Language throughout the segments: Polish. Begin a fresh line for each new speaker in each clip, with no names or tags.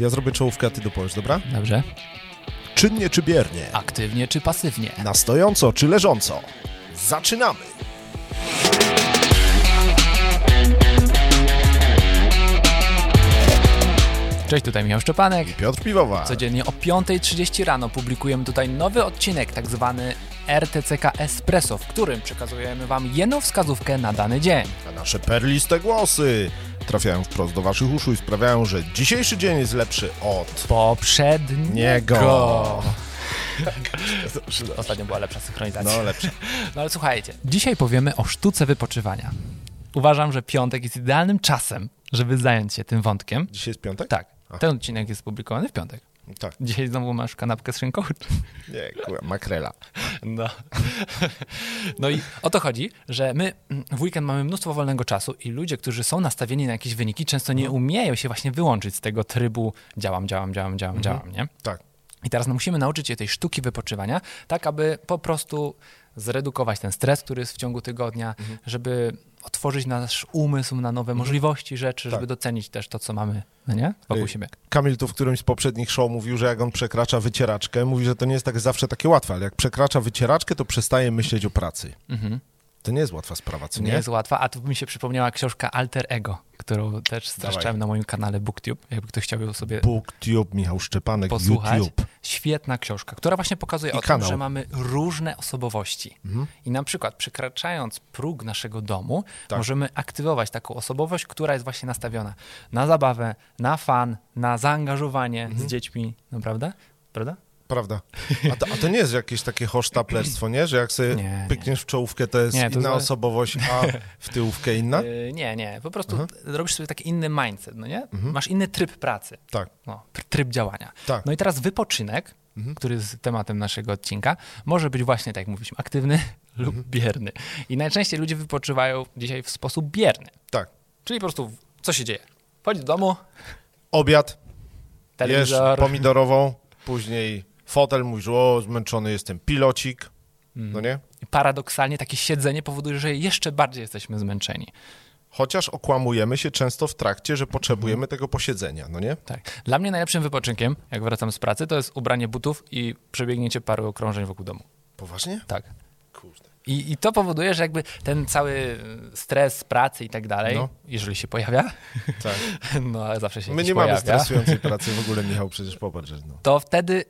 Ja zrobię czołówkę, a ty dopowiesz, dobra?
Dobrze.
Czynnie czy biernie?
Aktywnie czy pasywnie?
Na stojąco czy leżąco? Zaczynamy!
Cześć, tutaj Michał Szczepanek.
Piotr Piwowar.
Codziennie o 5.30 rano publikujemy tutaj nowy odcinek, tak zwany RTCK Espresso, w którym przekazujemy Wam jedną wskazówkę na dany dzień.
A nasze perliste głosy trafiają wprost do waszych uszu i sprawiają, że dzisiejszy dzień jest lepszy od...
Poprzedniego.
Niego.
Ostatnio była lepsza synchronizacja.
No, lepszy.
No ale słuchajcie, dzisiaj powiemy o sztuce wypoczywania. Uważam, że piątek jest idealnym czasem, żeby zająć się tym wątkiem.
Dzisiaj jest piątek?
Tak, ten odcinek jest publikowany w piątek.
Tak.
Dzisiaj znowu masz kanapkę z szynką?
Nie, kurwa, makrela.
No. no i o to chodzi, że my mm, w weekend mamy mnóstwo wolnego czasu i ludzie, którzy są nastawieni na jakieś wyniki, często nie umieją się właśnie wyłączyć z tego trybu działam, działam, działam, działam, działam, nie?
Tak.
I teraz no, musimy nauczyć się tej sztuki wypoczywania, tak aby po prostu zredukować ten stres, który jest w ciągu tygodnia, żeby otworzyć nasz umysł na nowe możliwości rzeczy, żeby
Tak.
docenić też to, co mamy, no nie? Wokół
Y-
siebie.
Kamil tu w którymś z poprzednich show mówił, że jak on przekracza wycieraczkę, mówi, że to nie jest tak zawsze takie łatwe, ale jak przekracza wycieraczkę, to przestaje myśleć o pracy.
Mhm.
To nie jest łatwa sprawa, co
Nie?
nie?
jest łatwa, a tu mi się przypomniała książka Alter Ego, którą też streszczałem na moim kanale BookTube, jakby ktoś chciał ją sobie
BookTube, Michał Szczepanek,
posłuchać.
YouTube.
Świetna książka, która właśnie pokazuje
I
o
kanał. Mhm.
tym, że mamy różne osobowości. I na przykład przekraczając próg naszego domu,
Tak.
możemy aktywować taką osobowość, która jest właśnie nastawiona na zabawę, na fan, na zaangażowanie
Mhm.
z dziećmi, no prawda? Prawda?
Prawda. A to, a to nie jest jakieś takie hosztaplerstwo, nie? Że jak sobie
Nie, nie.
pykniesz w czołówkę, to jest
Nie, to
inna
za-
osobowość, a w tyłówkę inna?
Yy, nie, nie, po prostu
Mhm.
robisz sobie taki inny mindset, no nie? Masz inny tryb pracy.
Tak.
No, tr- tryb działania.
Tak. Mhm.
No i teraz wypoczynek, który jest tematem naszego odcinka, może być właśnie, tak jak mówiliśmy, aktywny lub
Mhm.
bierny. I najczęściej ludzie wypoczywają dzisiaj w sposób bierny.
Tak.
Czyli po prostu, w- co się dzieje? Chodź do domu,
Obiad, jesz
telewizor,
pomidorową, później fotel, mówisz, o, zmęczony jestem, pilocik,
Mhm.
no nie?
I paradoksalnie takie siedzenie powoduje, że jeszcze bardziej jesteśmy zmęczeni.
Chociaż okłamujemy się często w trakcie, że
Mhm.
potrzebujemy tego posiedzenia, no nie?
Tak. Dla mnie najlepszym wypoczynkiem, jak wracam z pracy, to jest ubranie butów i przebiegnięcie paru okrążeń wokół domu.
Poważnie?
Tak.
Kurde.
I, I to powoduje, że jakby ten cały stres pracy i tak dalej,
No.
jeżeli się pojawia,
Tak.
no ale zawsze się
My
gdzieś
nie mamy
pojawia,
stresującej pracy w ogóle, Michał, przecież popatrz, że no.
to wtedy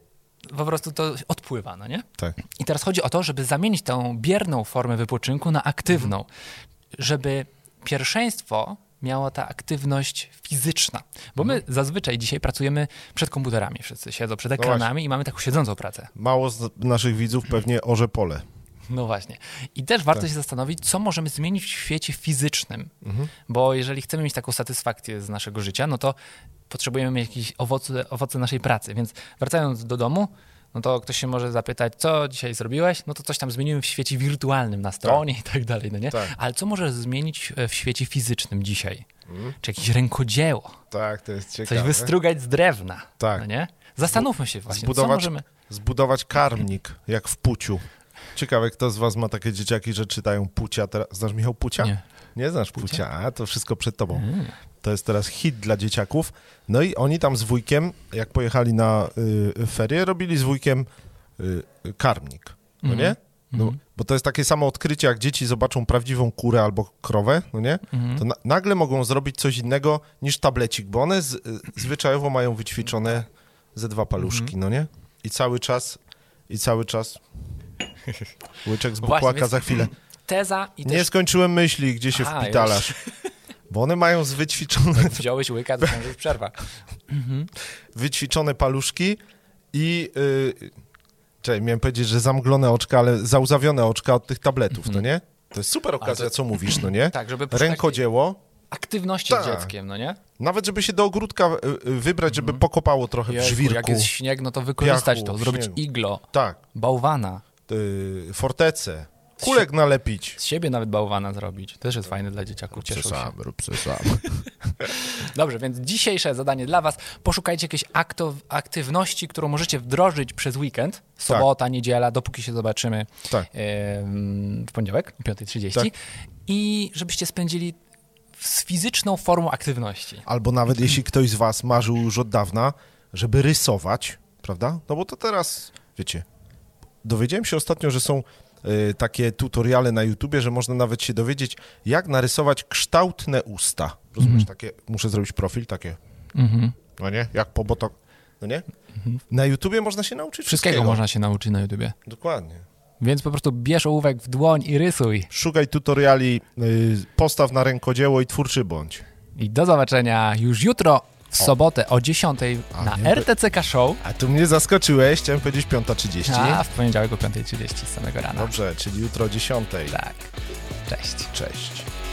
po prostu to odpływa, no nie?
Tak.
I teraz chodzi o to, żeby zamienić tą bierną formę wypoczynku na aktywną, żeby pierwszeństwo miała ta aktywność fizyczna. Bo
Mhm.
my zazwyczaj dzisiaj pracujemy przed komputerami, wszyscy siedzą
No
przed ekranami i mamy taką siedzącą pracę.
Mało z naszych widzów pewnie orze pole.
No właśnie. I też
Tak.
warto się zastanowić, co możemy zmienić w świecie fizycznym.
Mhm.
Bo jeżeli chcemy mieć taką satysfakcję z naszego życia, no to potrzebujemy mieć jakieś owoce, owoce naszej pracy. Więc wracając do domu, no to ktoś się może zapytać, co dzisiaj zrobiłeś? No to coś tam zmieniłem w świecie wirtualnym, na stronie i tak dalej, no nie?
Tak.
Ale co możesz zmienić e, w świecie fizycznym dzisiaj? Czy jakieś rękodzieło?
Tak, to jest Mhm. ciekawe.
Coś wystrugać z drewna,
Tak.
no nie? Zastanówmy się właśnie, co
Zbudować,
możemy...
zbudować karmnik, jak w puciu. Ciekawe, kto z was ma takie dzieciaki, że czytają pucia teraz. Znasz Michał Pucia?
Nie. Mhm. Mm.
Nie znasz pucia? A, to wszystko przed tobą. To jest teraz hit dla dzieciaków. No i oni tam z wujkiem, jak pojechali na y, ferie, robili z wujkiem y, y, karmnik. No
Mhm.
nie? No, bo to jest takie samo odkrycie, jak dzieci zobaczą prawdziwą kurę albo krowę, no nie?
Mhm.
To na, nagle mogą zrobić coś innego niż tablecik, bo one z, y, zwyczajowo mają wyćwiczone ze dwa
Mhm.
paluszki, no nie? I cały czas, i cały czas łyczek z
Właśnie,
bukłaka
więc-
za chwilę.
Teza i
Nie
też
skończyłem myśli, gdzie się
A,
wpitalasz. Bo one mają z wyćwiczone,
wziąłeś łyka, to już przerwa.
wyćwiczone paluszki i... Yy, czekaj, miałem powiedzieć, że zamglone oczka, ale załzawione oczka od tych tabletów, no nie? To jest super okazja, co mówisz, no nie?
Mhm. Tak, żeby przy
Rękodzieło.
aktywności
Tak.
z dzieckiem, no nie?
Nawet żeby się do ogródka y, y, wybrać, żeby pokopało trochę w żwirku.
Mhm. Jak jest śnieg, no to wykorzystać
piachu,
to, zrobić
śniegu.
iglo,
Tak,
bałwana,
y, fortece, kulek nalepić.
z siebie nawet bałwana zrobić. Też jest fajne dla
No,
dzieciaków, cieszą się.
rób se sam.
Dobrze, więc dzisiejsze zadanie dla was, poszukajcie jakiejś akto- aktywności, którą możecie wdrożyć przez weekend, sobota, niedziela, dopóki się zobaczymy
Tak.
em, w poniedziałek o 5.30
Tak.
i żebyście spędzili z fizyczną formą aktywności.
Albo nawet jeśli ktoś z was marzył już od dawna, żeby rysować, prawda? No bo to teraz, wiecie, dowiedziałem się ostatnio, że są y, takie tutoriale na YouTubie, że można nawet się dowiedzieć, jak narysować kształtne usta. Rozumiesz, takie, muszę zrobić profil, takie,
Mhm.
no nie, jak po botok, no nie? Na YouTubie można się nauczyć
Wszystkiego,
wszystkiego.
można się nauczyć na YouTubie.
Dokładnie.
Więc po prostu bierz ołówek w dłoń i rysuj.
Szukaj tutoriali, y, postaw na rękodzieło i twórczy bądź.
I do zobaczenia już jutro w sobotę o 10
A,
na
nie, to-
RTCK Show,
A tu mnie zaskoczyłeś, chciałem powiedzieć 5.30.
a w poniedziałek o 5.30 samego rana.
Dobrze, czyli jutro o 10.00.
Tak. Cześć.
Cześć.